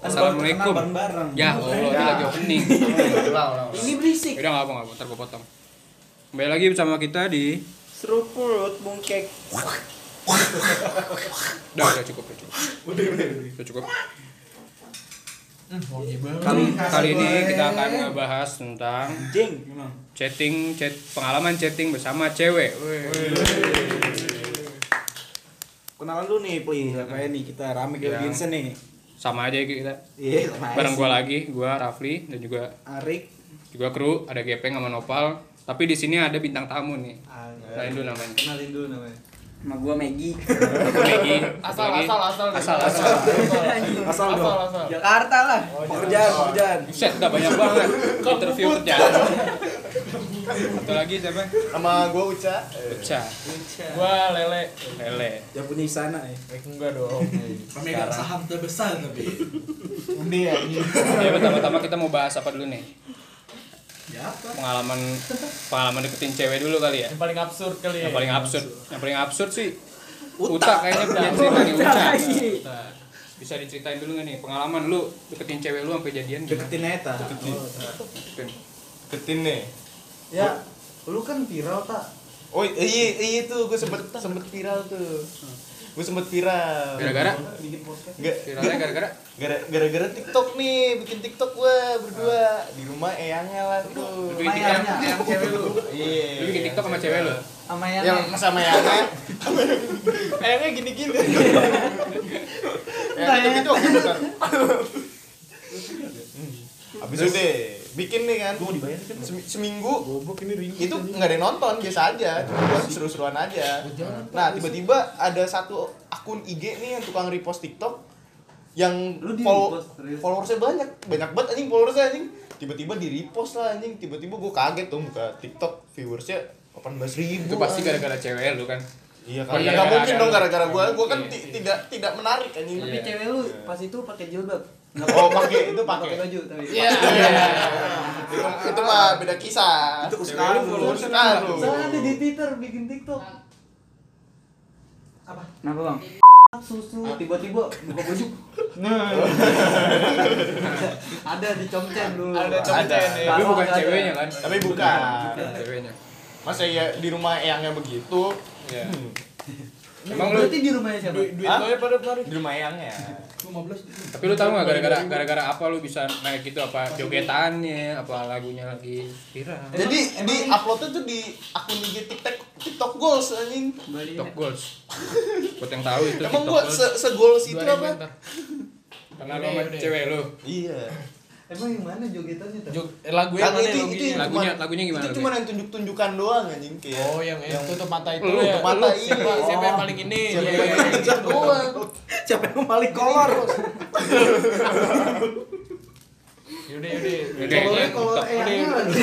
Assalamualaikum. bareng Ya Iya. Allah, ini lagi opening. ulang ulang Ini berisik. Udah nggak apa nggak apa, ntar gue potong. Kembali lagi bersama kita di. Seruput bungkek. Udah, udah cukup, udah cukup, udah cukup. Kali, Kali ini kita akan ngebahas tentang Jeng. chatting, chat pengalaman chatting bersama cewek. kenalan dulu nih, Pli. Apa nih kita rame Iya. kayak Vincent nih. Sama aja kita. Iya, sama aja Bareng sih. gue lagi, gue Rafli dan juga Arik. juga kru ada Gepeng sama Nopal. Tapi di sini ada bintang tamu nih. Lain dulu namanya. Kenalin dulu namanya. Sama gua Megi. Satu lagi, satu asal lagi. asal asal asal asal Asal asal dong. asal Jakarta lah. Pekerjaan, pekerjaan. Set, udah banyak banget. Interview kerjaan. Satu lagi siapa? sama gua Uca Uca, gua lele Lele. Yang punya istana ya. Eh, enggak dong Pemegang saham terbesar tapi. ini ya ini. Ya pertama-tama kita mau bahas apa dulu nih? Ya apa? Pengalaman pengalaman deketin cewek dulu kali ya. yang paling absurd kali ya Yang paling absurd, yang paling absurd sih Uta kayaknya punya cerita nih Uta. Bisa diceritain dulu nggak nih pengalaman lu deketin cewek lu sampai jadian Kan? gitu? Deketin Eta. deketin nih ya lu kan viral tak oh i- iya iya tuh gua sempet sempet viral tuh gua sempet viral Gara-gara Ga- viralnya gara-gara gara- gara-gara TikTok nih bikin TikTok gua berdua di rumah eyangnya lah lu tuh bikin TikTok, yang cewek lu. iya lu bikin TikTok sama cewek lu. Sama yang yang sama eyangnya kayaknya gini gini Eh, eyangnya gitu gitu bentar. Abis itu deh, Hmm. bikin nih kan Sem- Seminggu itu nggak ada yang nonton biasa aja cuma buat seru-seruan aja nah tiba-tiba ada satu akun IG nih yang tukang repost TikTok yang follow followersnya banyak banyak banget anjing followersnya anjing tiba-tiba di repost lah anjing tiba-tiba gue kaget tuh buka TikTok viewersnya 18 ribu Itu pasti gara-gara cewek lu kan. iya Oh, kan iya, nggak iya, mungkin iya, dong iya. gara-gara gue gue kan Iya, ti- iya. tidak tidak menarik anjing tapi Iya. cewek lu pas itu pakai jilbab. oh pakai itu pakai Pakai baju tapi. Iya, Iya. itu, itu mah beda kisah Itu Cewek Uskaru. Iya. lu followersnya Uskaru. Soalnya ada di Twitter bikin TikTok. Apa? Kenapa, Bang? susu Ah, tiba-tiba buka baju nah ada di comcen dulu ada Ada. cewek Tapi nih Taruh bukan nggak ada. ceweknya kan? tapi bukan Bukan Ceweknya. masa ya di rumah eyangnya begitu Iya. Hmm. Emang lu berarti di rumahnya siapa duit Hah? lo ya pada kemarin di rumah eyangnya 15. Tapi lu tahu nggak gara-gara gara-gara apa lu bisa naik gitu apa jogetannya apa lagunya lagi viral. jadi di uploadnya tuh di akun IG TikTok TikTok goals anjing Bali TikTok goals. Buat yang tahu itu emang TikTok gua goals. se segoals itu 2000 apa ntar. Karena lu sama iya. cewek lu. iya emang yang mana jogetannya tuh Jog- eh, lagu yang Lagu mana itu- lagunya? itu- Lagunya Cuman- lagunya gimana? itu cuma yang tunjuk tunjukkan doang anjing kayak oh yang yang tutup mata itu Lu ya tutup mata, iya. siapa siapa yang paling ini Siapa yang Iya, iya, paling iya. itu doang Siapa yang paling kolor? yaudah yaudah Yaudah, Kolornya yang kolor eh, TikTok. eyangnya Udah, lagi.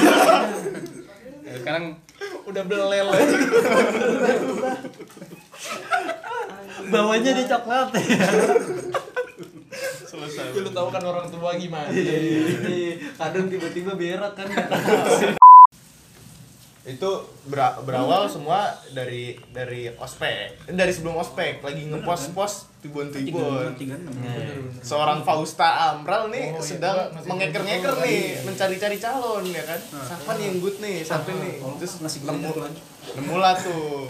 Ya, Sekarang udah belel bawahnya di coklat selesai lu tahu kan orang tua gimana iya, kadang tiba-tiba berak kan itu bera- berawal semua dari dari ospek Eh, dari sebelum ospek lagi kan? ngepost post tibon tibon seorang Fausta Amral nih Oh, iya, sedang gua masih Nah. mengeker-ngeker ngeker nih tadi. mencari-cari calon ya kan siapa nih yang good nih siapa nih terus Masih nemu gelembung lagi. nemu lah tuh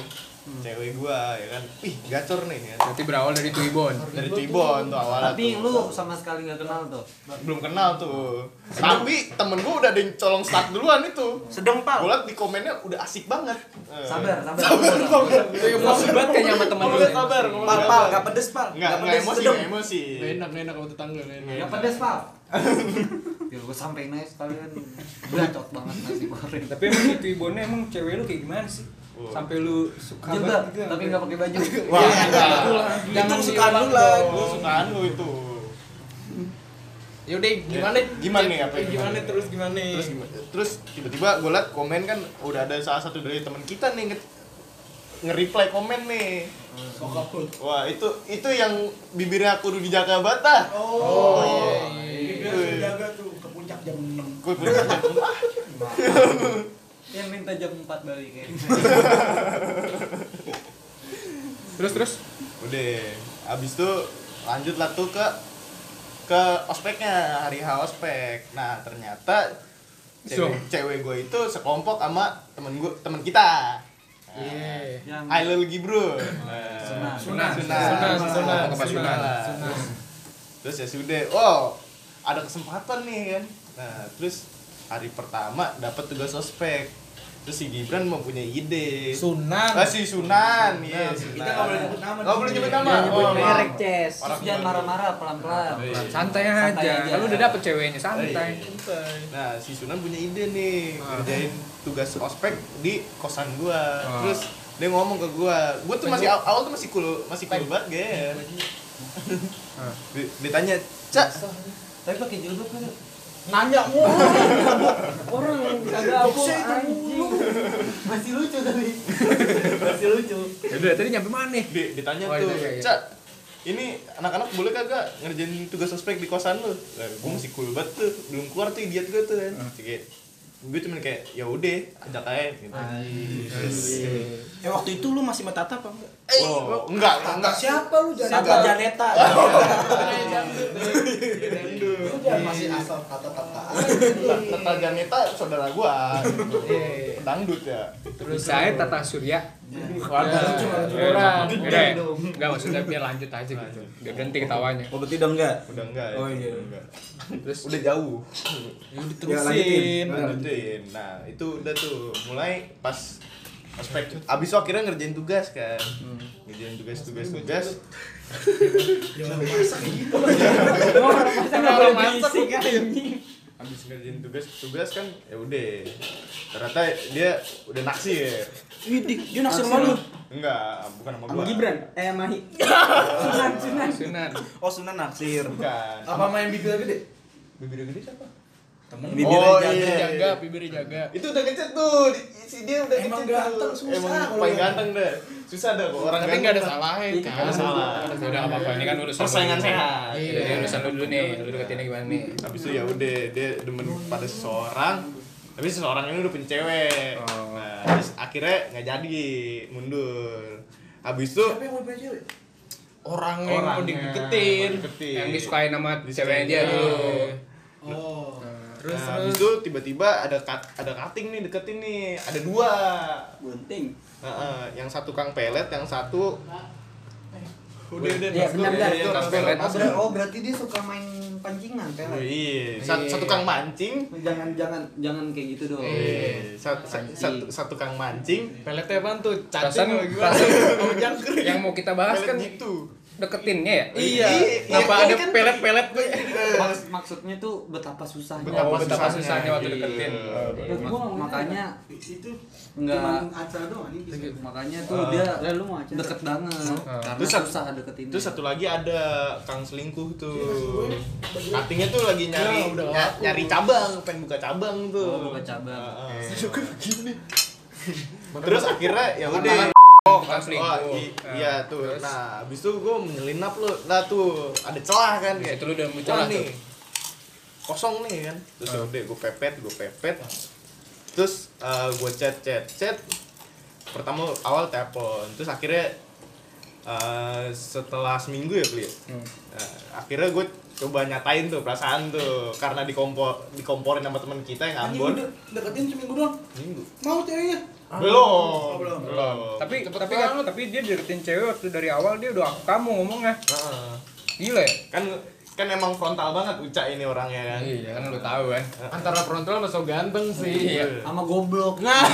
cewek gua ya kan ih gacor nih ya. berarti berawal dari Tuibon. dari Cibon tuh awalnya tapi tuh. lu sama sekali nggak kenal tuh belum kenal tuh tapi temen gua udah ada yang colong start duluan itu Sedang gua pal. liat di komennya udah asik banget Eh. sabar sabar, Iya, Emosi banget kayaknya sama temen lu. sabar Pal pal, gak pedes pal. Gak nggak nggak pedes emosi sedang. nggak emosi Gak enak, gak enak sama tetangga gak enak. nggak pedes pak ya gue sampein aja sekalian bacot banget nasi goreng Tapi emang di Tuibonnya emang cewek lu kayak gimana sih? Oh. Wah. Sampai lu suka jilbab banget gitu. tapi nggak pakai baju wah Iya, enggak Itu Jangan kesukaan diulang lu lah. dong. gua sukaan lu itu Yaudah, Eh, gimana? Gimana nih, apa yang Gimana gimana? terus gimana? terus gimana? terus tiba-tiba gue liat komen kan udah ada salah satu dari teman kita nih nge- nge-reply komen nih Sokap lu. wah itu itu yang bibirnya kudu dijaga bata Oh. iya, Dia iya. jaga tuh ke puncak jam 6. gue kudu jaga bata. yang minta jam 4 balik ya Terus terus udah abis itu lanjut lah tuh ke ke ospeknya hari H ospek nah ternyata cewek, cewek gue itu sekelompok sama temen gue temen kita Nah, Iya. Yang I love you bro senang. Sunat, Sunat. sunat, sunat, Ke Pak Sunat sunat. lah. Terus, terus ya sudah wow ada kesempatan nih kan nah terus hari pertama dapat tugas ospek terus si Gibran mempunyai ide Sunan. Ah, si Sunan, iya. Sunan. Kita nggak boleh nyebut nama Nggak di boleh sini. nyebut nama. Iya, Oh, nyebut maaf. merek Ces. Orang Jangan baru. marah-marah pelan-pelan. santai Santai aja aja. kan lu udah dapet ceweknya santai Nah, si Sunan punya ide nih, ngerjain tugas ospek di kosan gua. Ah. Terus dia ngomong ke gua, gua tuh masih aw- awal tuh masih cool, masih cool banget Iya, gaya. Ah. Di- Ditanya, "Cak, Tapi pakai jilbab kan. Nanya mulu. Orang kagak aku anjing. Masih lucu tadi. Masih lucu. udah tadi nyampe mana di- ditanya Oh, ya, tuh, ditanya, iya. Cak, ini anak-anak boleh kagak ngerjain tugas ospek di kosan lu?" Lah, gua masih cool banget tuh, belum keluar tuh idiot gua tuh kan. Hmm. Kayak, gue cuman kayak ya udah ajak aja gitu. Eh waktu itu lu masih metata apa enggak? Eh, enggak, enggak. Oh. Siapa lu Tata jangan? Janeta. Lu jangan masih asal kata-kata. aja. Tata Janeta saudara gua gitu. Iya, Dangdut ya. terus saya Tata Surya Waduh. orang udah nggak maksudnya biar lanjut aja gitu biar berhenti ketawanya Oh berarti udah enggak? Udah enggak ya? Iya, Oh, iya. Udah enggak. terus Udah jauh. Ya lanjutin. Iya, Lanjutin. Nah, itu udah tuh mulai pas aspek abis itu akhirnya ngerjain tugas kan ngerjain tugas tugas tugas Masa enggak boleh diisi kan. abis ngerjain tugas tugas kan ya udah ternyata dia udah naksir Widih, dia naksir sama lu. enggak bukan sama Sama gua Gibran. Eh Mahi. Sunan, Sunan. Sunan Oh Sunan naksir. bukan Oh, Apa main bibir gede? bibir gede siapa Temen Bibirnya oh jaga. iya Jaga, bibir jaga. itu udah kecet tuh di- si dia udah Emang kecet ganteng, tuh. susah emang kalau paling ganteng. ganteng deh susah deh kok orang Tapi ganteng nggak ada salahnya nggak kan. ada salah Nggak udah nggak apa-apa ini kan urusan persaingan lu. sehat Iya, Iya. ini urusan lu dulu nih lu deketinnya gimana nih habis itu ya udah dia demen pada seseorang tapi seseorang ini udah punya cewek Oh. nah, terus akhirnya nggak jadi mundur habis itu Siapa yang mau ya? punya cewek? Orang yang orang mau dideketin. Iya. yang disukain sama ceweknya dia dulu Oh. Terus nah, habis terus. itu tiba-tiba ada cut- ada cutting nih deketin nih ada dua Bunting. Heeh, yang satu kang pelet yang satu udah udah Iya, masuk. benar-benar. Iya, Kang Pelet. Pelet masuk. Oh berarti dia suka main pancingan Oh, pelet. Iya, satu, Iya. satu kang mancing, Jangan jangan jangan kayak gitu dong. Iya. satu, satu, satu, satu kang mancing, Peletnya apaan tuh? Perasaan- Cacing apa gimana? sama jangkrik. yang mau kita bahas Pelet kan gitu. deketinnya ya Iya. Kenapa Iya, ada kan- pelet-pelet gue? Iya. Maks- maksudnya tuh betapa susahnya. Oh, Betapa betapa susahnya. susahnya waktu deketin Iya. makanya Itu Enggak. cuman acara doang ini bisa. makanya tuh dia deket banget karena Ah. Terus satu- susah deketin Terus satu lagi ada Iya, kang selingkuh tuh. Cuttingnya tuh lagi Ya, nyari udah ny- nyari cabang, pengen buka cabang tuh. Ah, Oh, buka cabang. Heeh. Terus akhirnya ya udah. oh bukan Oh, selingkuh i- iya tuh. Terus? Nah, habis itu gue menyelinap lu. Nah tuh, ada celah kan Di kayak. situ lu udah muncul Wah, lah tuh. nih kosong nih kan terus Ah. udah gue pepet gue pepet terus eh, gue chat chat chat pertama awal telepon terus akhirnya eh, setelah seminggu ya beli Hmm. akhirnya gue coba nyatain tuh perasaan tuh karena dikompor dikomporin sama teman kita yang Anjing, Ambon udah deketin seminggu doang. minggu Mau ceweknya? belum belum. belum tapi tapi kan tapi dia deketin cewek waktu dari awal dia udah aku kamu ngomongnya Heeh. gila ya kan kan emang frontal banget Uca ini orangnya kan iya kan lu tahu kan Antara frontal sama so ganteng sih. Iya. sama goblok Nah.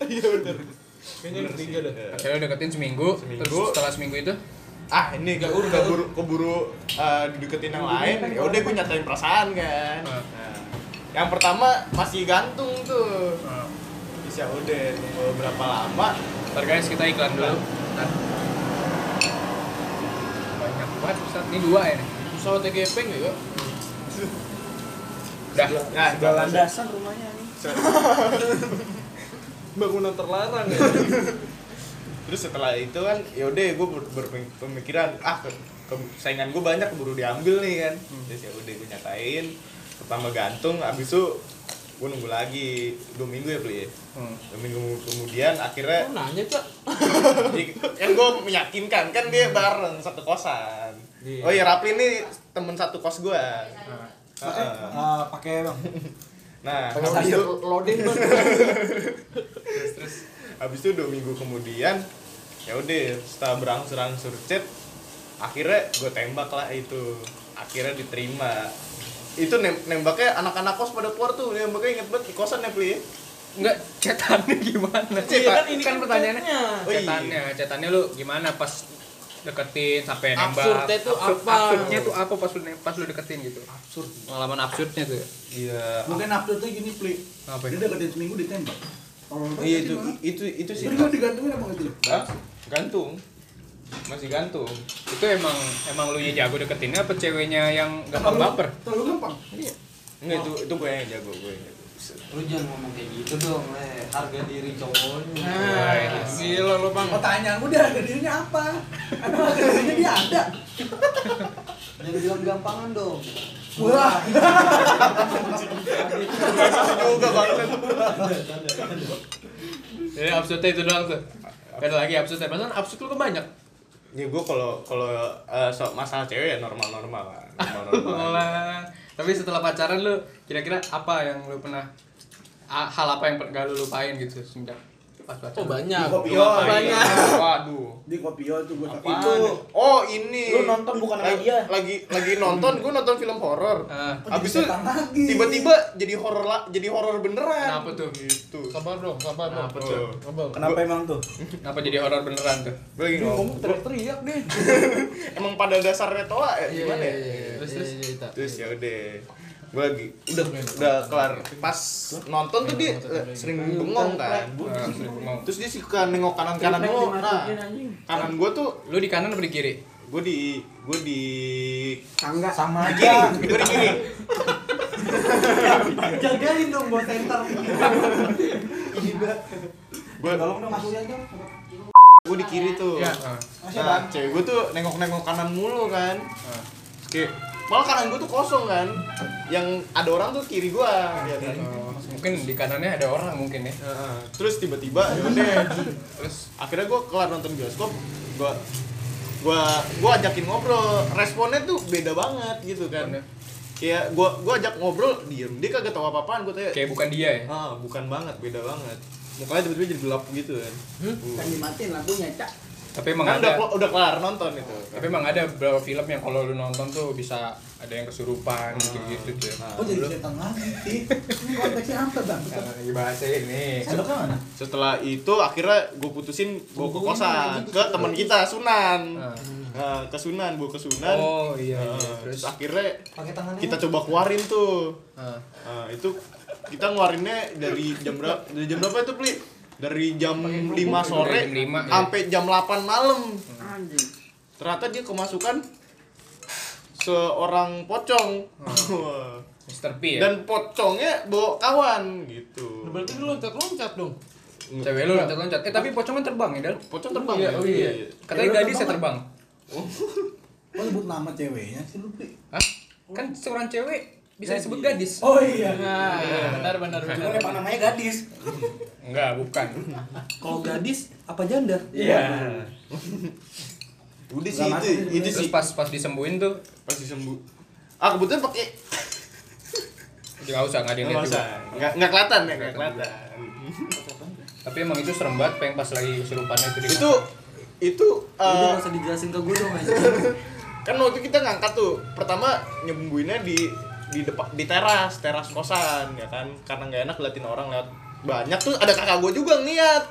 iya bener Kayaknya yang ketiga dah. Iya. akhirnya lu deketin seminggu, Seminggu. terus setelah seminggu itu ah ini gak udah keburu keburu eh, dideketin yang lain ya udah gue nyatain perasaan kan Ah. Nah, yang pertama masih gantung tuh bisa udah tunggu berapa lama Ntar guys kita iklan dulu. Ntar. Banyak banget Ustaz. Ini dua ya nih. Sama TGP enggak ya? Dah. nah Jalan Ya, dasar rumahnya nih. Bangunan terlarang ya. terus setelah itu kan ya udah gue berpemikiran ah ke, ke- saingan gue banyak keburu diambil nih kan Hmm. terus ya udah gue nyatain pertama gantung abis itu gue nunggu lagi dua minggu ya beli ya? Hmm. dua minggu kemudian akhirnya Kok nanya, Cak? Jadi, yang gue meyakinkan kan dia bareng kan satu kosan Oh iya Rapli nih temen satu kos gua. Nah. Heeh. Ah, pakai bang Nah, Pengen habis itu loading bang. terus terus habis itu dua minggu kemudian ya udah setelah berangsur-angsur chat akhirnya gue tembak lah itu akhirnya diterima itu nem- nembaknya anak-anak kos pada keluar tuh nembaknya inget banget di kosan ya Pli Enggak, cetannya gimana? Iya kan, ini kan pertanyaannya. Oh iya. Cetannya, cetannya lu gimana pas deketin sampai nembak? Absurdnya tuh apa? Absurdnya tuh apa pas lu ne- pas lu deketin gitu? Absurd. Pengalaman absurdnya tuh. iya Mungkin update tuh gini, Pli. Apa Dia ya? deketin seminggu ditembak. Oh, iya itu itu itu sih Terus lu digantungin apa gitu? Hah? gantung masih gantung Itu emang emang lu nya jago deketinnya apa ceweknya yang gampang Terlalu- baper? Iya. Terlalu gampang. enggak itu itu gue yang jago gue yang jago Lu jangan ngomong kayak gitu dong, le. Harga diri cowoknya. Nah, gila lo bang. Pertanyaan udah harga dirinya apa? Ada harga dirinya dia ada. Jangan bilang gampangan dong. Wah, juga banget Jadi absurdnya itu doang tuh. Ada lagi absurdnya. Masalah absurd lu kan banyak. ya gue kalau kalau eh, so, masalah cewek ya normal normal lah normal normal Malah. Tapi setelah pacaran lu kira-kira apa yang lu pernah a- hal apa yang pernah lu lupain gitu semenjak pas Oh pacaran? banyak. Kopi Lu ngapain? banyak. Waduh. di kopi tuh gua sakit. itu oh ini Lu nonton bukan sama lagi dia. lagi lagi nonton gue nonton film horor Ah. abis itu setan lagi. tiba-tiba jadi horor la- jadi horor beneran Kenapa tuh? gitu Sabar dong, sabar dong. Kenapa tuh? Sabar. Kenapa emang tuh? Kenapa jadi horor beneran tuh? gue lagi ngomong teriak-teriak deh. emang pada dasarnya toa ya Iya, gimana iya, ya iya. Terus terus terus ya udah gue lagi udah udah kelar pas nonton tuh dia eh, sering bengong Ah, kan sering bengong. terus dia suka nengok kanan kanan lo nah kanan gue tuh Lu di kanan apa di kiri? gue di gue di Tangga sama di kiri Iya. aja. gue di kiri Jagain dong buat center. gue Galong dong masuk aja. gue di kiri tuh Iya. Nah, cewek gue tuh nengok-nengok kanan mulu kan. Kayak malah kanan gue tuh kosong kan. Yang ada orang tuh kiri gue, ya kan. Oh, mungkin di kanannya ada orang mungkin ya. Heeh. Terus tiba-tiba ya udah. Terus akhirnya gue kelar nonton bioskop, gue gua gua ajakin ngobrol responnya tuh beda banget gitu kan Responnya? kayak gua gua ajak ngobrol diem dia kagak tahu apa-apaan gua tanya Kayak bukan dia ya. ah bukan banget beda banget mukanya tiba-tiba jadi gelap gitu kan Kan dimatiin lampunya, Cak. Tapi Hmm? emang kan udah ada udah kelar nonton itu tapi emang ada beberapa film yang kalau lu nonton tuh bisa ada yang kesurupan gitu-gitu tuh. ya. Ah, Oh, jadi setan lagi. Ti. Ini konteksnya apa, Bang? Karena lagi bahasa ini. Sendoknya mana? setelah itu akhirnya gue putusin gue ke kosan ke teman kita Sunan gitu. Ah. Nah, ke Sunan gue ke Sunan Oh iya, Nah, iya. terus terus akhirnya Pakai tangannya. kita coba keluarin tuh ah. Nah, itu kita ngeluarinnya dari jam berapa dari jam berapa itu Pli? dari jam 5 sore Dari jam 5, ya. sampai jam 8 malam Anjing. ternyata dia kemasukan seorang pocong Mr. P ya. dan pocongnya bawa kawan gitu Berarti lu loncat-loncat dong. cewek lu loncat-loncat. Eh tapi pocongnya terbang ya, Dal. pocong terbang Iya, ya? oh iya. Katanya gadis ya terbang. Kok nyebut nama ceweknya sih lu, Pli? Hah? Kan seorang cewek bisa disebut gadis. Oh iya. Nah, benar benar benar. Kan emang namanya gadis. Enggak, bukan. Kalau gadis apa janda? Iya. Iya. udah sih itu itu sih Terus pas pas disembuhin tuh pasti sembuh ah kebetulan pakai Gak usah, gak ada yang lihat nggak juga. usah nggak nggak kelihatan ya nggak kelihatan Tapi emang itu serem banget, pengen pas lagi kesurupannya itu di itu itu Udah eh, gak usah dijelasin ke gue dong aja. kan waktu kita ngangkat tuh pertama nyembuhinnya di di depan di teras teras kosan ya kan karena nggak enak liatin orang lewat banyak tuh ada kakak gue juga ngeliat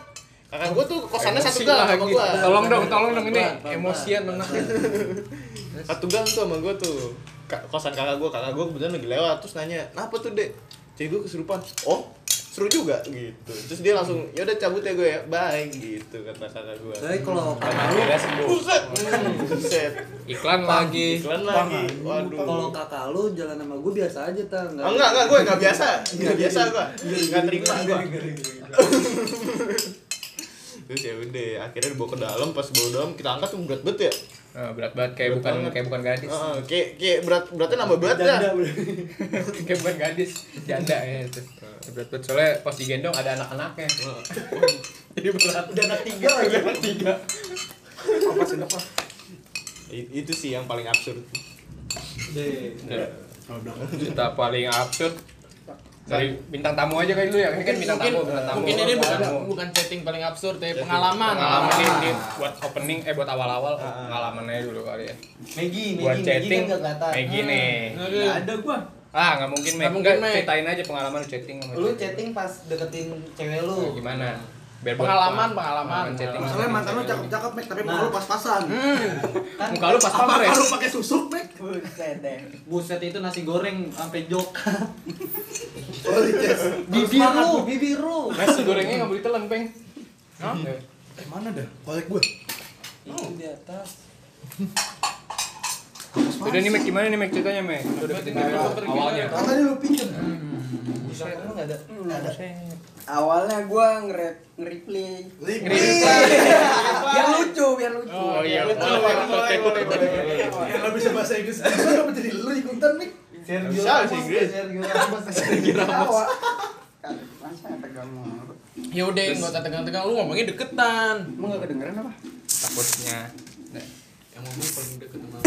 kakak gue tuh kosannya Emosi satu gang lagi. sama gue Tolong dong, tolong dong ini Pelan, pelan, emosian anak. satu gang tuh sama gue tuh Ka- kosan kakak gue kakak gue kebetulan lagi lewat terus nanya kenapa tuh dek cewek gue kesurupan oh seru juga gitu terus dia langsung yaudah cabut ya gue ya bye gitu kata kakak gue Tapi kalau kakak lu, Akhirnya sembuh. buset buset Iklan lagi. iklan lagi waduh kalau kakak lu jalan sama gue biasa aja ta. Ah, enggak, enggak, gue enggak biasa. Enggak biasa gue. Enggak terima gue. Terus ya udah, akhirnya dibawa ke dalam, pas bawa ke dalam kita angkat tuh berat banget ya. Nah, berat banget kayak Berat bukan banget. kayak bukan gadis. Ah. Heeh, kayak kayak berat beratnya nambah berat ya. kayak bukan gadis. Janda ya itu. Berat banget soalnya pas digendong ada anak-anaknya. Jadi berat. Udah anak tiga lagi. Tiga. Apa sendok apa? I- itu sih yang paling absurd Iya. Cerita paling absurd dari bintang tamu aja kali lu ya, ini kan bintang tamu, bintang tamu. Mungkin ini bukan Bintang tamu. bukan Ah. chatting paling absurd ya, pengalaman. pengalaman Iya. ini ini buat opening eh buat awal-awal Ah. pengalaman aja dulu kali ya. Maggie, Buat Maggie, Maggie chatting kan gak kelihatan. kayak gini. Iya, Oke. Nggak ada gua. Ah, nggak mungkin Meg. Nggak mungkin, Nggak, Meg. ceritain aja pengalaman lu chatting sama Lu cewek. chatting pas deketin cewek lu. Nah, gimana? Biar buat Pengalaman, pengalaman. pengalaman. chatting. Masalahnya mantan lu cakep-cakep, Mek, tapi muka lu pas-pasan. Muka lu pas ya? Apa pampres. lu pakai susuk, Mek? Buset deh. Buset itu nasi goreng sampai jok. Oh, yes. bibir lu, bibir lu. Nasi gorengnya nggak boleh telan, Peng. Hah? Eh, mana dah? Kolek gua. Itu di atas. Udah nih Meg gimana nih Meg ceritanya Meg? Lu deketin cewek lu awalnya. Katanya lu pinjem. Bisa lu enggak ada. awalnya gue nge nge-replay Iya. biar lucu biar lucu Oh iya, Betul, boleh, boleh, boleh, Iya, boleh, boleh. Yang nggak bisa bahasa Inggris. Lu kenapa jadi lu ikutan, Mek? Sergio Bisa Ramos, sih, Gris. Sergio Ramos. ketawa kan masa tegang banget. Ya udah, nggak usah tegang-tegang. Lu ngomongnya deketan. emang gak kedengeran apa Takutnya. Nah, Yang ngomong paling deket sama.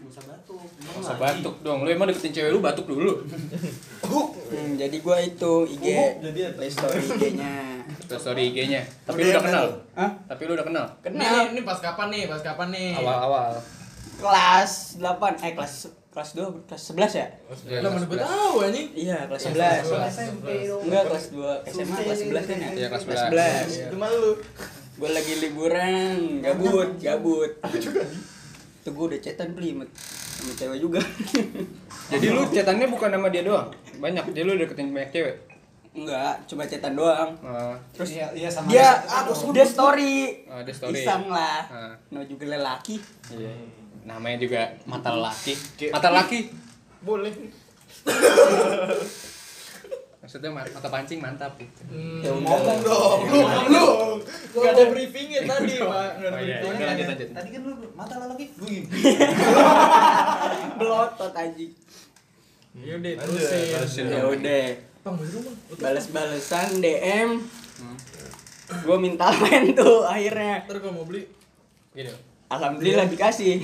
Masa batu. nggak usah batuk dong. Lu emang deketin cewek lu batuk dulu. hmm, jadi gue itu IG Oh, Jadi ada. playstore IG-nya Terus story IG-nya. Tapi lu udah kenal. Hah? Tapi lu udah kenal. Ini, kenal ini pas kapan nih? Pas kapan Iya. nih? Awal-awal. kelas 8 eh kelas kelas 2 kelas 11 ya Lah mana gue tahu anjing. iya kelas kelas 11 SMP dong. enggak kelas 2 SMA kelas 11 kan ya Iya, kelas 11. 11 cuma lu gue lagi liburan gabut gabut tuh gue udah cetan beli sama sama cewek juga Jadi lu chatannya bukan sama dia doang. Banyak. Jadi lu deketin banyak cewek. enggak cuma cetan doang Nah, terus Iya, iya sama. dia dia story ah, ada story. iseng lah Ah, nah juga lelaki iya. Namanya juga mata lelaki. Mata lelaki. boleh Maksudnya ma- mata pancing mantap gitu. ya ngomong udah dong lu Iya, lu Gak ada briefingnya tadi, Pak. Nggak ada Oh, iya, briefing. udah lanjut lanjut. Tadi kan lu mata lelaki. Lu gini. belotot anjing Ya udah, terusin. Iya, ya udah Bang, bener dong, Bang. balas-balasan DM gue minta main tuh akhirnya Ntar gue mau beli. Gitu. alhamdulillah Iya. dikasih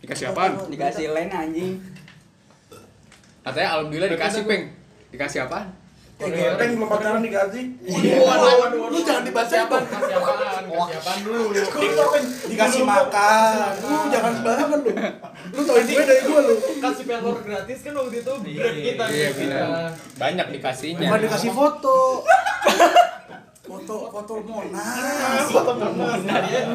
Dikasih apaan? dikasih lain anjing Katanya alhamdulillah dikasih peng. Dikasih apaan? Eh, gepeng belum pacaran digaji. lu jangan dibahas apa Siapaan? Kasih apaan? Kasih apaan dulu? Dikasih makan. Lu jangan sembarangan lu. Lu tauin gue dari gue lu. Kasih pelor gratis kan waktu itu grade kita. Iya, benar. Nah, Banyak dikasihnya. Bukan dikasih foto. Foto foto Monas. Foto Monas.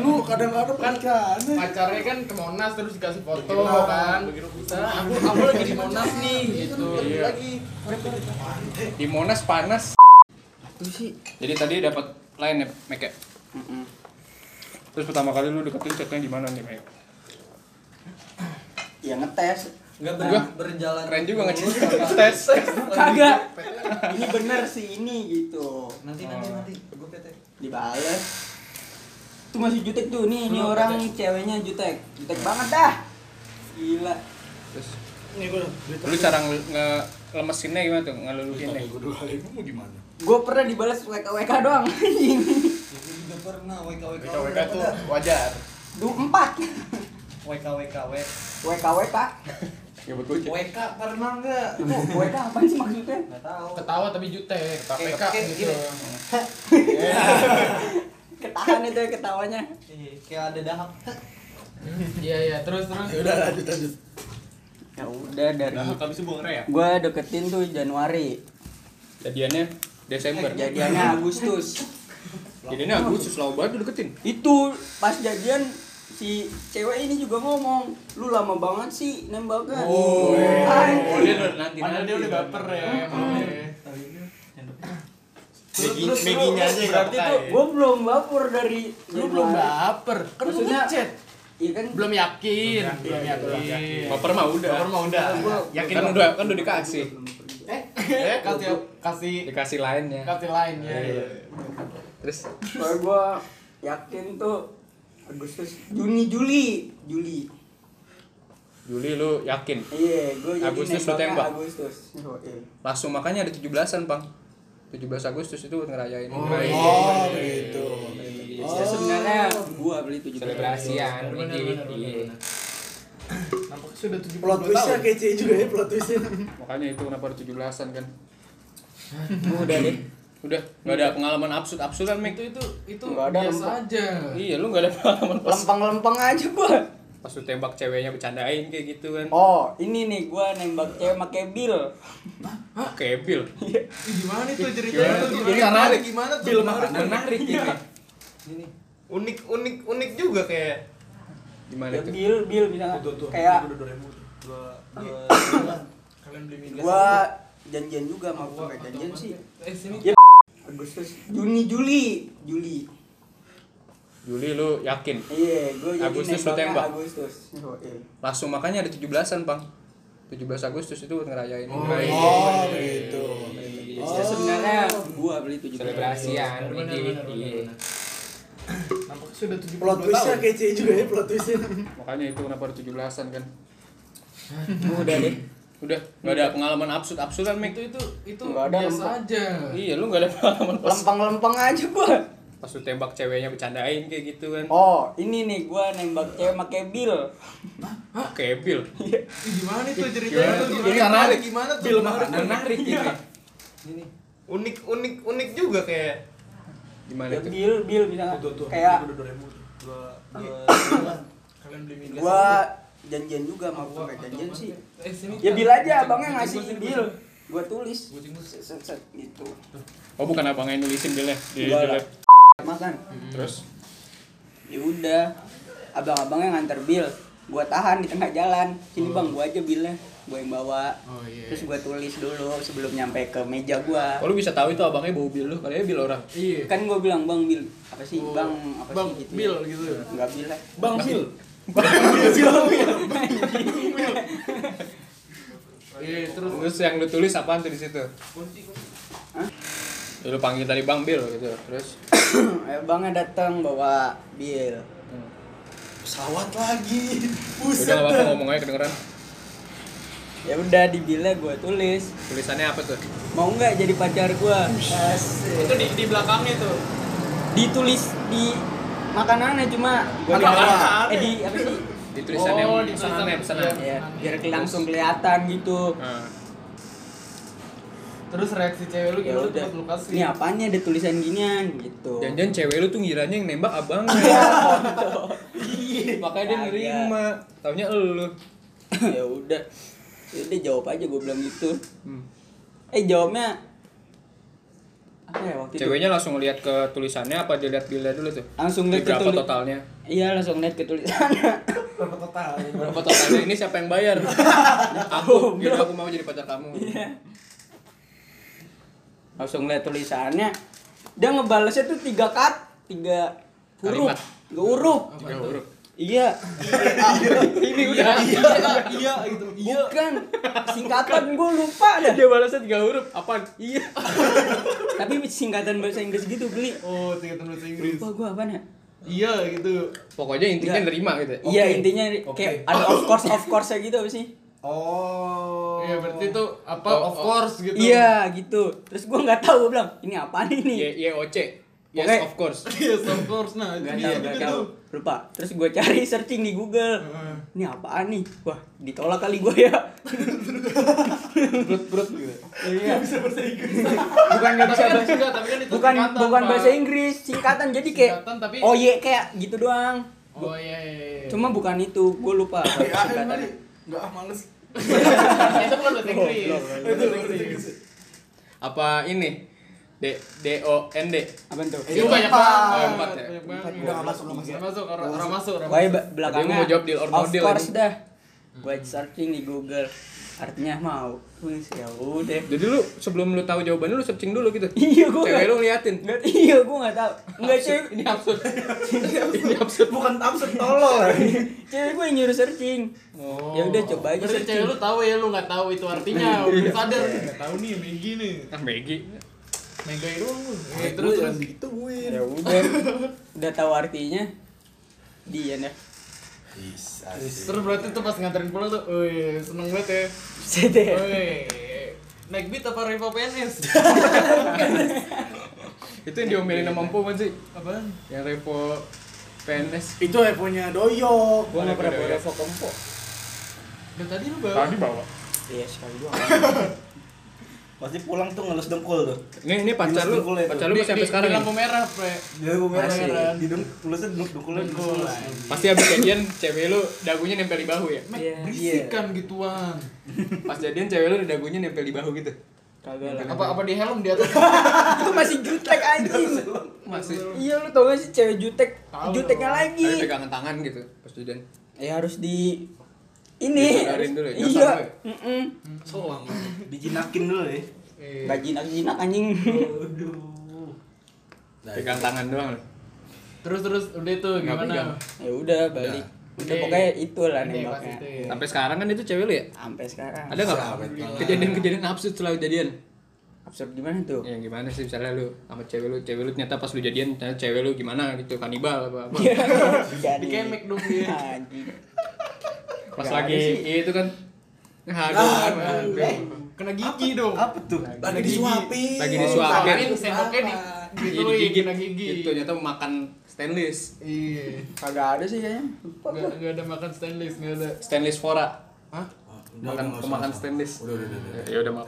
Lu kadang-kadang pacaran. pacarnya kan ke Monas terus dikasih foto kan Nah, aku aku lagi di Monas nih gitu Iya. Di Monas panas. itu sih Jadi tadi dapat lain ya, Meke. Mm-mm. Terus pertama kali lu deketin chatnya di mana nih, Mek? ya ngetes Enggak ber- berjalan. Keren juga ngecat tes. kagak ini bener sih ini gitu Nanti nanti nanti. Gua PT. dibales itu masih jutek tuh nih ini orang ceweknya jutek jutek banget dah gila Terus Ini gue. lu cara nge nge- lemesinnya gimana tuh? Ngeluluhin nih. Gue dua kali gue mau gimana? gue pernah dibales WK WK doang anjing Ya, gua juga pernah WK WK. WKWK tuh wajar du empat WK WK WK WK Ya buat gua cek. WK pernah enggak? itu WK apa sih maksudnya Enggak tahu. ketawa tapi jutek KPK Kayak- kayak gitu gini. ketahan itu ya ketawanya Iya, kayak ada dahak. iya iya terus terus Ya udah lanjut lanjut. ya udah dari tapi sih buang ya gue deketin tuh Januari Jadiannya Desember. jadiannya Agustus Jadiannya Agustus lah banget lu deketin. itu pas jadian si cewek ini juga ngomong lu lama banget sih nembaknya oh, Oh, dia udah nanti padahal dia udah baper ya Hmm. emang Meginya aja yang berarti gak tuh pakai. gue belum baper dari lu belum baper kan lu Maksudnya- ngechat iya kan belum yakin belum yakin Baper mah udah. Baper mah udah Yakin kan udah kan udah dikasih. Eh, kasih kasih Dikasih lainnya. kasih lain ya iya. Terus kalau gue yakin tuh Agustus Juni Juli Juli Juli lu yakin. iya gue jadi Agustus lu nembaknya tembak? Agustus Oh, iya. Langsung makanya ada 17-an, Bang. 17 Agustus itu buat ngerayain. Oh, ngerayain. iya. Oh begitu. Iya, sebenarnya gua beli tujuh puluh Selebrasian, Benar, dikit. benar, benar, ya. Iya. benar. Nampaknya sudah tujuh Plot twistnya kece juga ya plot twistnya. Makanya itu kenapa ada 17-an kan. udah deh Udah, nggak ada pengalaman absurd-absurdan, Mik. itu itu itu Nggak ada biasa aja Iya, lu nggak ada pengalaman pas lempeng-lempeng aja gua pas lu tembak ceweknya bercandain kayak gitu kan. oh ini nih gua nembak cewek pakai bil Kebil. Ih, gimana itu ceritanya tuh Jadi gimana karena ada gimana tuh? film menarik ini. Unik unik unik juga kayak Gimana Ya, itu? bil bil misalnya kayak kalian beli minum gua janjian juga sama gua janjian sih Iya. eh sini Agustus Juni Juli Juli Juli lu yakin? iya gua jadi Agustus lu nembaknya tembak? Agustus Oh, iya. Langsung makanya ada 17-an, Bang. 17 Agustus itu ngerayain iya. ngerayain Oh, gitu. Ya, sebenarnya gua beli tujuh selebrasian, benar dikit. benar Iya. benar nampaknya sudah tujuh Plot twistnya kece juga ya plot twistnya. Makanya itu kenapa ada 17-an kan. udah deh Udah, nggak ada pengalaman absurd-absurdan, Mik. itu itu itu Nggak ada biasa lempeng. aja Iya, lu nggak ada pengalaman pas lempeng-lempeng aja gua pas lu tembak ceweknya bercandain kayak gitu kan. oh ini nih gua nembak cewek pakai bil Kebil. Ih, gimana itu ceritanya tuh Jadi gimana karena ada gimana tuh? film menarik ini. Unik unik unik juga kayak Gimana Ya, itu? bil bil misalnya kayak Iya. kalian beli minum gua janjian juga sama gua kayak janjian sih eh sini ya bil aja abangnya ngasih Kucing, kucing, bil gua tulis kucing kucing. set set, set, gitu Oh, bukan abang yang nulisin bilnya di di Gua lab. lah. makan Terus ya udah abang-abangnya nganter bil gua tahan di tengah jalan sini bang gua aja bilnya gua yang bawa oh iya Oh, terus gua tulis dulu sebelum nyampe ke meja gua Kalau Oh, lu bisa tahu itu abangnya bawa bil lu, kalian bil orang. iya kan gua bilang bang bil apa sih Oh, bang apa bang sih gitu bil ya. gitu ya nggak bil lah Bang Bil. iya terus Nah, Terus yang lu tulis apaan tuh di situ? Hah? Ya, lu panggil tadi Bang Bil gitu. Terus eh, bangnya datang bawa bil Pesawat lagi. Ya udah Buset nggak apa-apa dah. ngomong aja kedengeran. ya udah di bilnya gua tulis Tulisannya apa tuh? mau nggak jadi pacar gua Asik. itu di di belakangnya tuh ditulis di makanannya cuma gua Makanannya. eh di apa sih Di tulisannya Oh, di pesanannya, tulisannya. pesanan. ya biar langsung kelihatan gitu Nah, terus reaksi cewek lu ya gimana udah tuh lu kasih ini apanya ada tulisan ginian gitu jangan-jangan cewek lu tuh ngiranya yang nembak abang. Makanya dia Iya. Kagak. nerima. Taunya elu. ya udah ya udah jawab aja gue bilang gitu Hmm. eh jawabnya apa ya waktu itu Ceweknya langsung ngeliat ke tulisannya apa dilihat bilnya dulu tuh? langsung Di lihat ke berapa tulis totalnya? iya langsung lihat ke tulisan Berapa total? Berapa totalnya ini siapa yang bayar? Oh, aku, yaudah aku mau jadi pacar kamu. Iya. langsung lihat tulisannya dia ngebalesnya tuh tiga kat tiga huruf Kalimat. tiga huruf Tiga huruf. iya Ini udah. iya gitu iya bukan singkatan gue lupa dah Dia balasnya tiga huruf. Apaan? Iya. tapi singkatan bahasa Inggris gitu beli oh tiga bahasa Inggris lupa gue apa ya iya gitu Pokoknya intinya nerima gitu. ya? iya intinya kayak ada of course of course nya gitu apa sih Oh. iya berarti itu apa Oh, of course gitu Iya gitu. Terus gua nggak tahu gua bilang ini apaan Iya, ini. Y YOC. Yes, Pokoknya- of course. yes of course nah itu Gak tahu, dia gak gitu tahu. tuh Lupa. Terus gua cari searching di Google. Heeh. Ini apaan nih? Wah, ditolak kali gua ya. Brut brut gitu. Iya. bukan nggak bisa bahasa Enggak, tapi kan itu bukan singkatan, bukan Pak. bahasa Inggris, singkatan jadi kayak Singkatan, tapi- oh iya kayak gitu doang. oh iya iya iya. Cuma bukan itu, gua lupa apa Ya, singkatan. enggak ah males. itu bukan bahasa Inggris itu bahasa Inggris Apa ini? D D O N D. Apa tuh? itu banyak banget Oh, empat ya? banyak banget. Empat, udah nggak masuk, nggak masuk. Nggak masuk orang orang masuk orang Wah, iya, masuk. be- belakangnya. Tadi gua mau jawab deal or no of deal course ini. dah. Hmm. Gua searching di Google. Artinya mau. Wis ya udah. Jadi lu sebelum lu tahu jawabannya lu searching dulu gitu. Iya gua. Cewek nggak- lu ngeliatin. Nggak- iya gua nggak tahu. Enggak cewek Ini absurd. Ini absurd. Bukan eh. absurd tolol. cewek gue yang nyuruh searching. Oh. Ya udah coba aja Berarti cewek searching. lu tahu ya lu nggak tahu itu artinya, udah sadar. Nggak tahu nih Megi nih. Ah, Megi. Mega itu. Eh, Terus gue terus. yang digituin. Ya udah. udah tahu artinya. Dia dah. Terus berarti tuh pas nganterin pulang tuh, wih seneng banget ya. Set ya. Wih. Naik beat apa Reva PNS? Itu yang diomelin sama Empu kan sih? Apaan? Yang repo PNS. Itu handphonenya doyok. Gua nggak pernah bawa repo kempo. Dan tadi lu bawa. Tadi bawa. Iya sekali doang. Pasti pulang tuh ngelus dengkul tuh. Ini ini pacar lu, Dengkulnya tuh. pacar lu masih sampai sekarang. Di ya? lampu merah, Pre. Dia gue merah Masih. merah. Di deng tulisnya deng dengkulnya Betul. dengkul. Pasti habis jadian cewek lu dagunya nempel di bahu ya. Mek, Iya, iya. berisikan gituan. Pas jadian cewek lu dagunya nempel di bahu gitu. Kagak lah. Apa apa di helm di atas? Itu masih jutek anjing. Masih Iya lu tau gak sih cewek jutek, Tahu. juteknya lagi. tapi pegangan tangan gitu pas jadian. Ya harus di ini. Disadarin dulu ya, Iya. nyosor dulu ya. Heeh. Soang. Dijinakin dulu ya. Eh, Gak jinak-jinak anjing. Nah, Pegang tangan doang. lu. Terus terus udah itu Nggak pegang. gimana? Ya udah balik. Udah pokoknya itulah Ini pas itu nembaknya. ya. Sampai sekarang kan itu cewek lu ya? Sampai sekarang. Ada nggak kejadian-kejadian absurd setelah jadian? Absurd gimana tuh? Ya gimana sih misalnya lu sama cewek lu, cewek lu ternyata pas lu jadian ternyata cewek lu gimana gitu kanibal apa Iya, apa. Jadi. Dikemek dong dia. Anjing. Pas Nggak lagi ada Ah, itu kan. Aduh, aduh. Kena gigi dong. Apa tuh? Lagi disuapin. Lagi Disuapin disuapin. sendoknya di Iya, gituin digigit. kena gigi. Itu ternyata makan stainless. Iya. Kagak ada sih kayaknya. Lupa gua. Gak, gak ada makan stainless, gak ada. Stainless Fora. Hah? Makan pemakan stainless. Udah, udah, udah, udah. Ya udah maaf.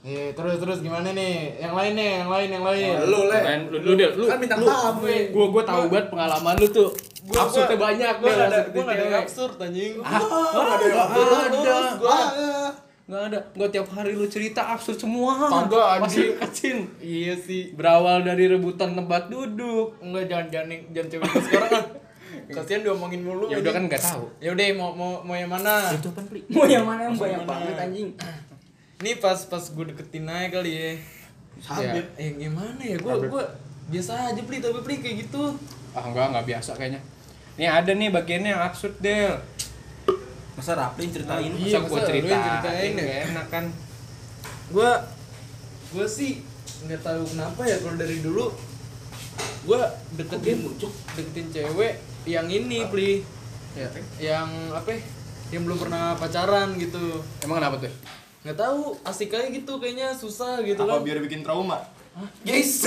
Iya, terus terus gimana nih? Yang lain nih, yang lain, yang lain. Oh, Lu le. Main lu dulu deh, lu. Kan bintang tamu. Gua gua tahu banget pengalaman lu tuh. Gua- Absurdnya gua- banyak Gua deh. gak ada, maksud gua di gak ada yang cewek. absurd gitu, Ah, anjing. Enggak ada. Enggak ada. Nggak ada. Gua tiap hari lu cerita absurd semua. Kagak, Masih anjing. kecil. Iya sih. Berawal dari rebutan tempat duduk. Enggak jangan jangan jangan cewek itu sekarang kan. Kasihan diomongin mulu. Ya udah kan anjing. nggak tahu. Ya udah mau mau mau yang mana? Mau yang mana yang banyak banget anjing. Ini pas pas gue deketin aja kali ya. Sabit. Ya, yang gimana ya? Gue gue biasa aja pli tapi pli kayak gitu. Ah enggak, enggak biasa kayaknya. Nih ada nih bagiannya yang absurd, Del. Masa Raplin ceritain? Masa gua Iya, masa lu yang cerita. ceritain ya? Nggak enak kan. gue gue sih nggak tahu kenapa ya kalau dari dulu gue deketin gitu? deketin cewek yang ini pli Iya, yang apa ya, yang belum pernah pacaran gitu Emang kenapa tuh? nggak tahu asik aja gitu kayaknya susah gitu Apa kan biar bikin trauma? Yes.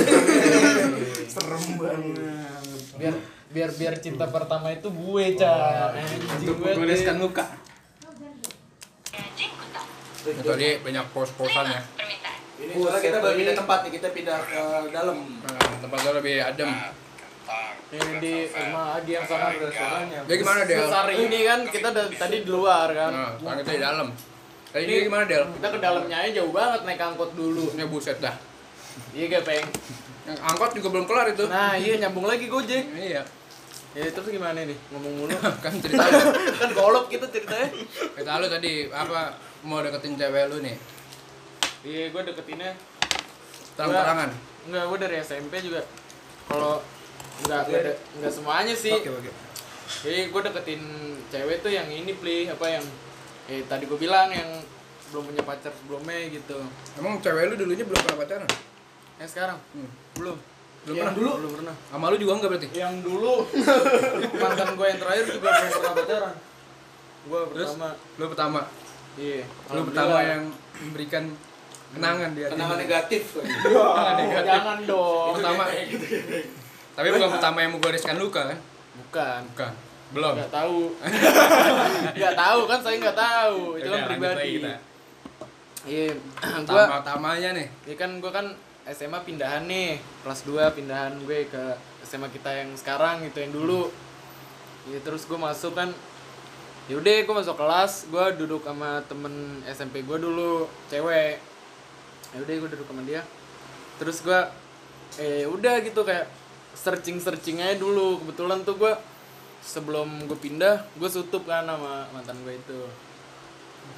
Serem banget. biar biar biar cinta pertama itu gue cah Untuk anjing gue menuliskan tuh. luka. Itu dia banyak pos-posan ya. Ini soalnya kita pindah tempat nih, kita pindah ke dalam. Nah, tempat gua lebih adem. ini di rumah Adi yang sana restorannya Dia gimana, Del? hari ini kan kita dari tadi di luar kan Nah, sekarang kita di dalam. Tadi dia gimana, Del? kita ke dalamnya aja jauh banget naik angkot dulu Ini buset dah. iya gak peng Yang angkot juga belum kelar itu. nah iya nyambung lagi gojek Iya, Ya terus gimana nih? Ngomong mulu. kan cerita lu. kan golok kita ceritanya. Cerita lu tadi apa mau deketin cewek lu nih? Iya, gue deketinnya Terang-terangan. enggak gue dari SMP juga. Kalau enggak enggak ada- enggak semuanya sih. Jadi gue deketin cewek tuh yang ini pli apa yang eh tadi gue bilang yang belum punya pacar sebelumnya gitu. Emang cewek lu dulunya belum pernah pacaran? Eh sekarang belum. Belum Yang pernah. dulu belum pernah. Sama lu juga enggak berarti? Yang dulu mantan gue yang terakhir juga belum pernah pacaran. Gue Terus? pertama Lu pertama. iya. Lu pertama yang memberikan kenangan di hati. Kenangan lu. negatif. Kenangan Oh, negatif. jangan dong. pertama. gitu. Tapi bukan pertama yang menggoreskan luka kan? Bukan. Bukan. Belum. nggak tahu nggak tahu kan saya nggak tahu itu Yaudah, kan lanjut pribadi lagi kita. iya gua Pertama-tamanya nih. ya kan gua kan SMA pindahan nih kelas 2 pindahan gue ke SMA kita yang sekarang gitu yang dulu ya terus gue masuk kan yaudah gue masuk kelas gue duduk sama temen SMP gue dulu cewek yaudah gue duduk sama dia terus gue eh udah gitu kayak searching searching aja dulu kebetulan tuh gue sebelum gue pindah gue tutup kan sama mantan gue itu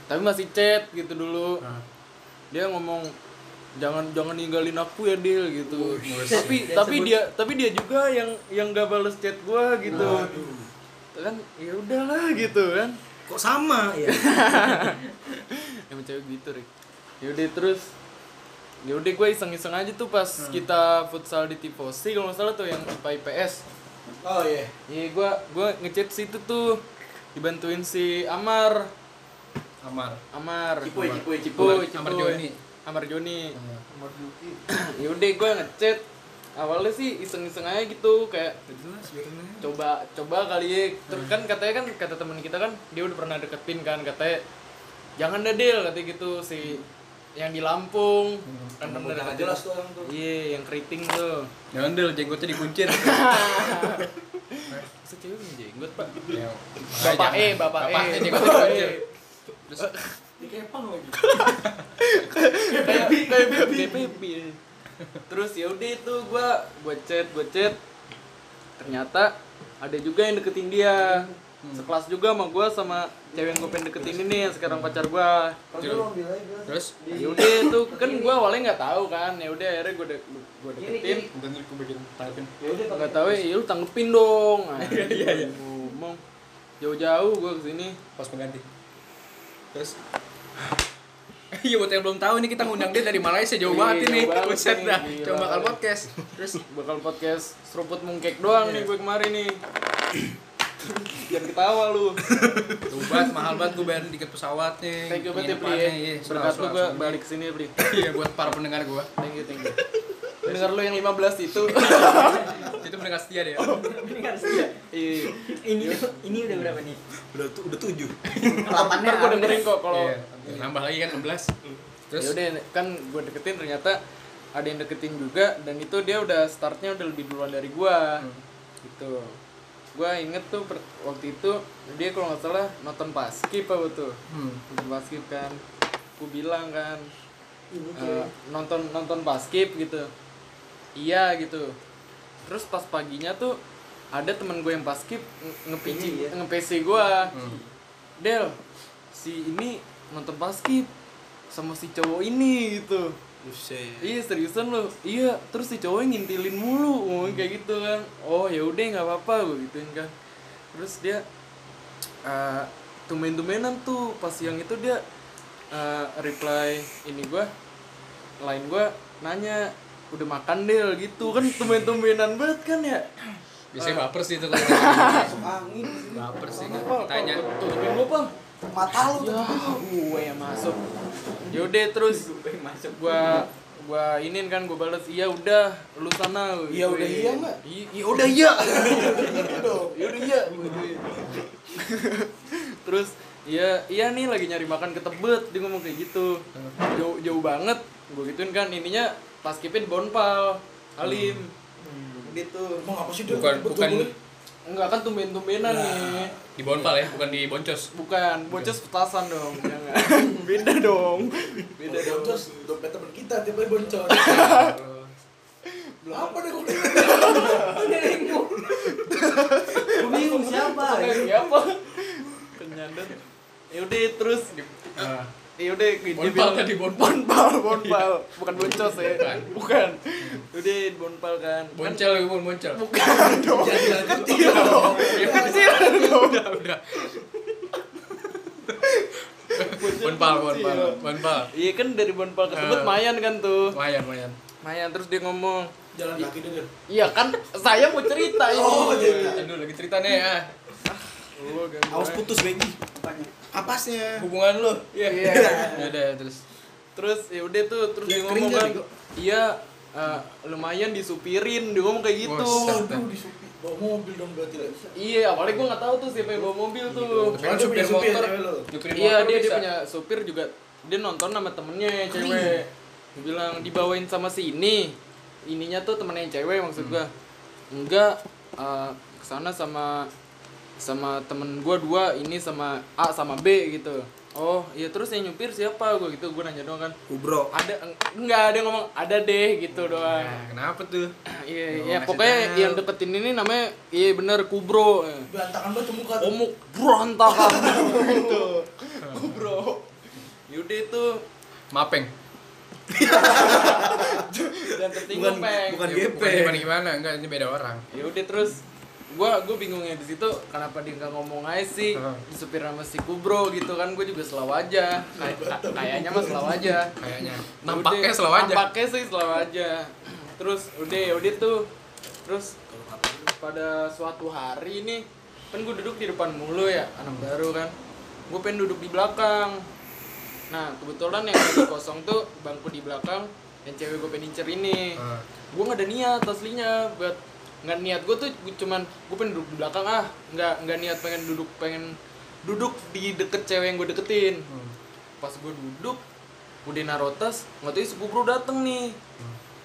tapi masih chat gitu dulu dia ngomong jangan jangan ninggalin aku ya Dil gitu tapi tapi dia tapi dia juga yang yang gak bales chat gue gitu kan ya udahlah gitu kan Kok sama ya? emang cewek gitu Rik yaudah terus yaudah gue iseng-iseng aja tuh pas Hmm. kita futsal di tifosi kalau nggak salah tuh yang IPA IPS Oh iya. iya gue gue ngechat situ tuh dibantuin si Amar Amar. Amar Cipuy, cipuy, cipuy. Cipuy, Amar Cipuy. Joni. Amar Joni Amar Joni yaudah gue Ya ngechat awalnya sih iseng-iseng aja gitu kayak coba coba kali ya terus kan katanya kan kata teman kita kan dia udah pernah deketin kan katanya jangan deh deal katanya gitu si yang di Lampung kan pernah deketin jelas tuh orang tuh iya yang keriting tuh Jangan deh, jenggotnya dikuncir. Masa cewek punya jenggot pak Ya, bapak E bapak E Bapak E, jenggotnya bapak E dikuncir. Dikepang lagi. kayak kayak baby kayak baby terus yaudah itu gua gua chat gua chat ternyata ada juga yang deketin dia sekelas juga sama gua sama cewek yang gua pengen deketin ini yang sekarang pacar gua Terus yaudah itu kan gua awalnya nggak tahu kan yaudah akhirnya gua de gua deketin Bentar gue bagian tarifin. nggak tahu ya lu tanggepin dong iya iya iya ngomong jauh-jauh gua kesini Pas pengganti. Terus Iya buat yang belum tahu ini kita ngundang dia dari Malaysia jauh Iya, banget ini. jauh banget Buset nih, dah. gila. Coba bakal podcast. Terus bakal podcast seruput mungkek doang nih gue kemarin nih jangan ketawa lu tuh banget mahal banget gue bayar tiket pesawatnya. thank you banget ya Pri penginapannya, ya. Iya, berkat lu gue gua balik kesini Pri Iya buat para pendengar gue. thank you thank you dengar lu yang 15 itu Itu pendengar setia deh. Oh. iya ini ini udah berapa nih? Udah tu- udah tujuh. Delapannya. ntar gue dengerin kok kalau Iya. Nambah lagi kan 16. Terus yaudah kan gue deketin ternyata ada yang deketin juga dan itu dia udah startnya udah lebih duluan dari gue gitu gue inget tuh per- waktu itu dia kalau nggak salah nonton paskip apa tuh nonton paskip kan gue bilang kan eh, nonton nonton paskip gitu iya gitu terus pas paginya tuh ada temen gue yang paskip nge- ngepici nge-PC gue Del si ini nonton paskip sama si cowok ini gitu iya seriusan lo iya terus si cowok ngintilin mulu ngomong kayak gitu kan oh ya udah nggak apa-apa gue gituin kan terus dia eh tumen-tumenan tuh pas siang itu dia eh, reply ini gua lain gua nanya udah makan del gitu kan tumen-tumenan banget kan ya biasanya baper sih itu kalau gitu. Masuk angin. baper sih kan. Pal, Tanya pal, tutupin gua pal Mata lu tuh. gue yang masuk yaudah terus gua gua inin kan gua balas iya udah lu sana Iya udah iya nggak? iya udah iya Gitu dong. yaudah iya terus iya iya nih lagi nyari makan ke Tebet dia ngomong kayak gitu jauh jauh banget gue gituin kan ininya pas kipin bonpal alim gitu Emang apa sih dia? bukan Betul bukan boleh. enggak kan tumben tumbenan nih di bonpal ya, bukan di boncos. bukan bocah petasan dong jangan beda dong beda Udah dong boncos, dompet temen kita tiba-tiba boncos. Apa deh gue beli? Gue bingung siapa? siapa kenyandat yaudah terus yaudah Bonpal kan tadi, bonpal. bonpal bonpal bukan boncos ya Bukan. Iya. bukan udah bonpal kan Kan- Boncel bukan boncel. Iya, bukan dong kecil dong kecil dong Udah, udah. Bonpal, bonpal, bonpal. iya kan dari bonpal ke Tebet Eh. mayan kan tuh Lumayan, lumayan. mayan terus dia ngomong Jalan kaki dulu. iya kan saya mau cerita ini Oh, iya. Aduh, lagi cerita nih ya. Oh, gangguan. Awas putus Bengi. Kapasnya. Hubungan lu. Iya. Iya. Ya udah, terus terus ya udah tuh terus Ya, dia ngomong keringan kan juga. iya eh, lumayan disupirin dia ngomong kayak gitu Buset. Waduh, disupi. Bawa mobil dong berarti lah. iya awalnya gue nggak tahu tuh siapa yang bawa mobil tuh Tapi kan Dia supir punya supir, motor. Gitu. cewek lu. Supir iya motor dia, dia bisa. punya supir juga dia nonton sama temennya cewek Dia bilang dibawain sama si ini ininya tuh temennya yang cewek Hmm. maksud gua enggak eh, kesana sama sama temen gua dua ini sama A sama B gitu oh iya terus yang nyupir siapa gua gitu gua nanya doang kan Kubro. ada enggak ada yang ngomong ada deh gitu doang Nah, kenapa tuh? Iya, Lu iya ngasih pokoknya tahu. yang deketin ini namanya iya bener kubro. Berantakan banget tuh muka tuh. Omuk berantakan gitu. kubro. Yaudah itu Mapeng. dan tertinggal Bukan- peng. bukan Ya, GP. bukan gimana gimana, enggak ini beda orang. Yaudah terus gua gua bingungnya di situ kenapa dia nggak ngomong aja sih Heeh. disupir sama si kubro gitu kan gua juga selaw aja Kay- ka- kayaknya mah selaw aja Kayaknya. Nampaknya Ya Udah, selalu aja. nampaknya sih selalu aja terus udah ya udah tuh terus pada suatu hari nih kan gue duduk di depan mulu ya anak baru kan gue pengen duduk di belakang nah kebetulan yang lagi kosong tuh bangku di belakang yang cewek gue pengen incer ini Ah. Hmm. gue nggak ada niat aslinya buat nggak niat gue tuh gua cuman gue pengen duduk di belakang ah nggak nggak niat pengen duduk pengen duduk di deket cewek yang gue deketin pas gue duduk gue di narotas nggak tahu sepupu bro dateng nih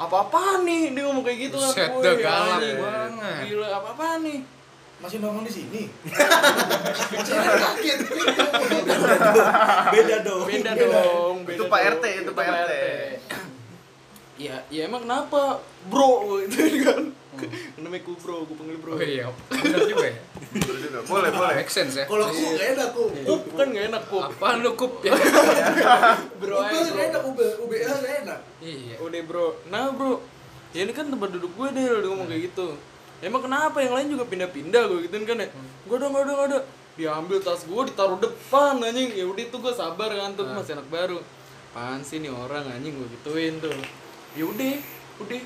apa apaan nih dia ngomong kayak gitu kan Buset, Wih, dah galak anjing. banget. gila apa apaan nih Masih nongol di sini. Beda dong. beda dong beda Oh, Itu Pak dong. RT, itu Pak RT. ya ya emang kenapa bro itu kan namanya ku bro gue panggil bro Oh iya, bener juga ya. Boleh, boleh. Make sense ya. Kalau aku nggak enak aku. kup kan gak enak kup Apaan lu kup ya? bro aja Ubel bro nggak enak, ubel UBL nggak enak. Iya. udah bro nah bro ya ini kan tempat duduk gue deh dia ngomong kayak gitu emang kenapa yang lain juga pindah-pindah gue gituin kan ya gue dong gue dong gue dong diambil tas gue ditaruh depan anjing ya udah itu gue sabar kan tuh masih anak baru pan sih nih orang anjing gue gituin tuh ya udah udah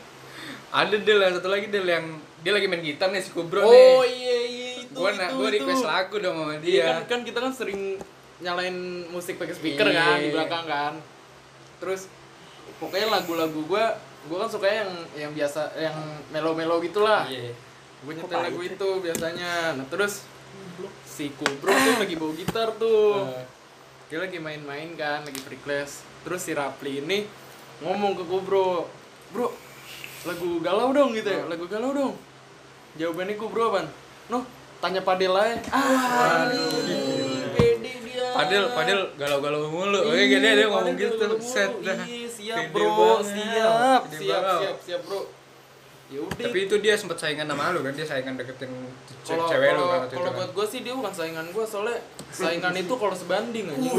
Ada Del, yang satu lagi Del yang dia lagi main gitar nih si Kubro oh nih. iya iya itu Gua itu nak gua itu. request lagu dong sama Iya dia. kan, kan kita kan sering nyalain musik pakai speaker Iya. kan di belakang kan. Terus pokoknya lagu-lagu gua gua kan suka yang yang biasa yang melo-melo gitulah. Iya. Gua nyetel lagu itu biasanya. Nah, terus si Kubro tuh lagi bawa gitar tuh. Eh. Dia lagi main-main kan, lagi free class. Terus si Rapli ini ngomong ke Kubro, "Bro, lagu galau dong gitu ya, lagu galau dong." Jawabannya Kubro apaan? Noh, tanya Padel aja. Ah, pede dia. Padel, Padel galau-galau mulu. Oke, Iya, dia dia ngomong Padel gitu galau mulu. set dah. Iya, siap, Pede Bro. banget. Siap, Pede siap, banget. siap, siap, Bro. Ya udah. Tapi itu dia sempat saingan sama lu kan, dia saingan deketin ce- kalau cewek lu kan kalau- waktu itu. kalau kan. buat gue sih dia bukan saingan gue soalnya saingan itu kalau sebanding aja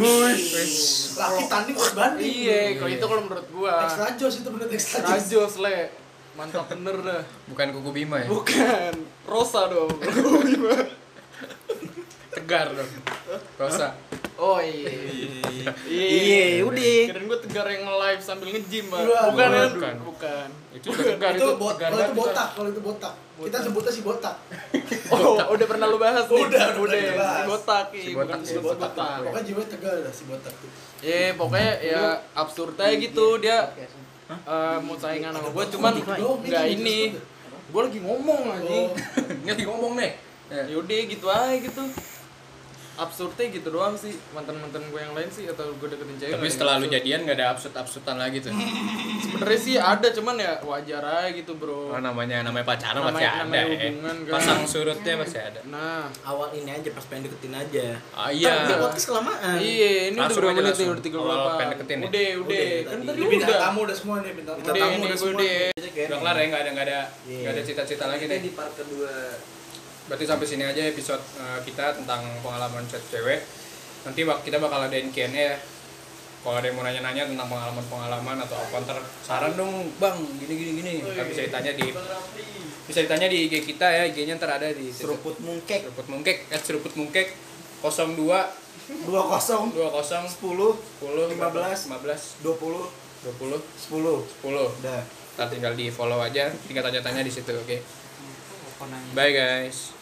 Laki tanding harus banding. iya kalau itu kalau menurut gue Extra jos itu bener extra jos. rajos le mantap bener dah Bukan kuku Bima ya. bukan rosa dong Tegar dong. Rosa. oh iya Iya, udah. keren gue tegar yang live sambil nge-gym Bang. Iya. bukan kan Bukan. bukan Itu udah tegar Itu itu. bot, tegar kalau itu banget. botak, kalau itu botak. Kita sebutnya si botak. oh udah pernah lu bahas nih Udah, udah udah dibahas. si botak iya, Si bukan botak, si si botak Pokoknya jiwa tegal lah si botak tuh. ya pokoknya ya absurd aja gitu dia eh, mau saingan sama gue cuman Oh, ini nggak juga ini sebutnya. gue lagi ngomong anjing Oh. Ini lagi ngomong nih. Ya. yaudah gitu aja gitu absurdnya gitu doang sih mantan mantan gue yang lain sih atau gue deketin cewek Tapi nggak setelah ada lu absurd. jadian gak ada absurd-absurdan lagi tuh. sebenarnya sih ada cuman ya wajar aja gitu bro Oh, namanya namanya pacaran Namanya- pasti ada. namanya eh. hubungan kan. Pasang surutnya pasti ada. nah Awal ini aja pas pengen deketin aja. Ah iya. Di podcast kelamaan. iya ini udah Langsung berapa aja menit nih langsung. udah tiga Kalau pengen deketin ya. udah udah kan tadi. tadi Ini bintang udah tamu udah semua nih bintang Kita tamu. Udah, tamu ini udah gue semua. deh. Udah kelar ya nggak ada nggak ada nggak ada cita-cita lagi nih. Ini di part kedua. Berarti sampai sini aja episode eh, kita tentang pengalaman chat cewek. Nanti bak- kita bakal adain Q&A ya. Kalau ada yang mau nanya-nanya tentang pengalaman-pengalaman atau apa ntar saran dong bang gini gini gini. Ntar bisa ditanya di bisa ditanya di IG kita ya IG-nya ntar ada di Seruput mungkek seruput mungkek at seruput mungkek 02 dua kosong 20 10 sepuluh 15 15 15, dua puluh 20 sepuluh. 10 Udah. Ntar tinggal di follow aja, tinggal tanya-tanya di situ, oke? Bye guys.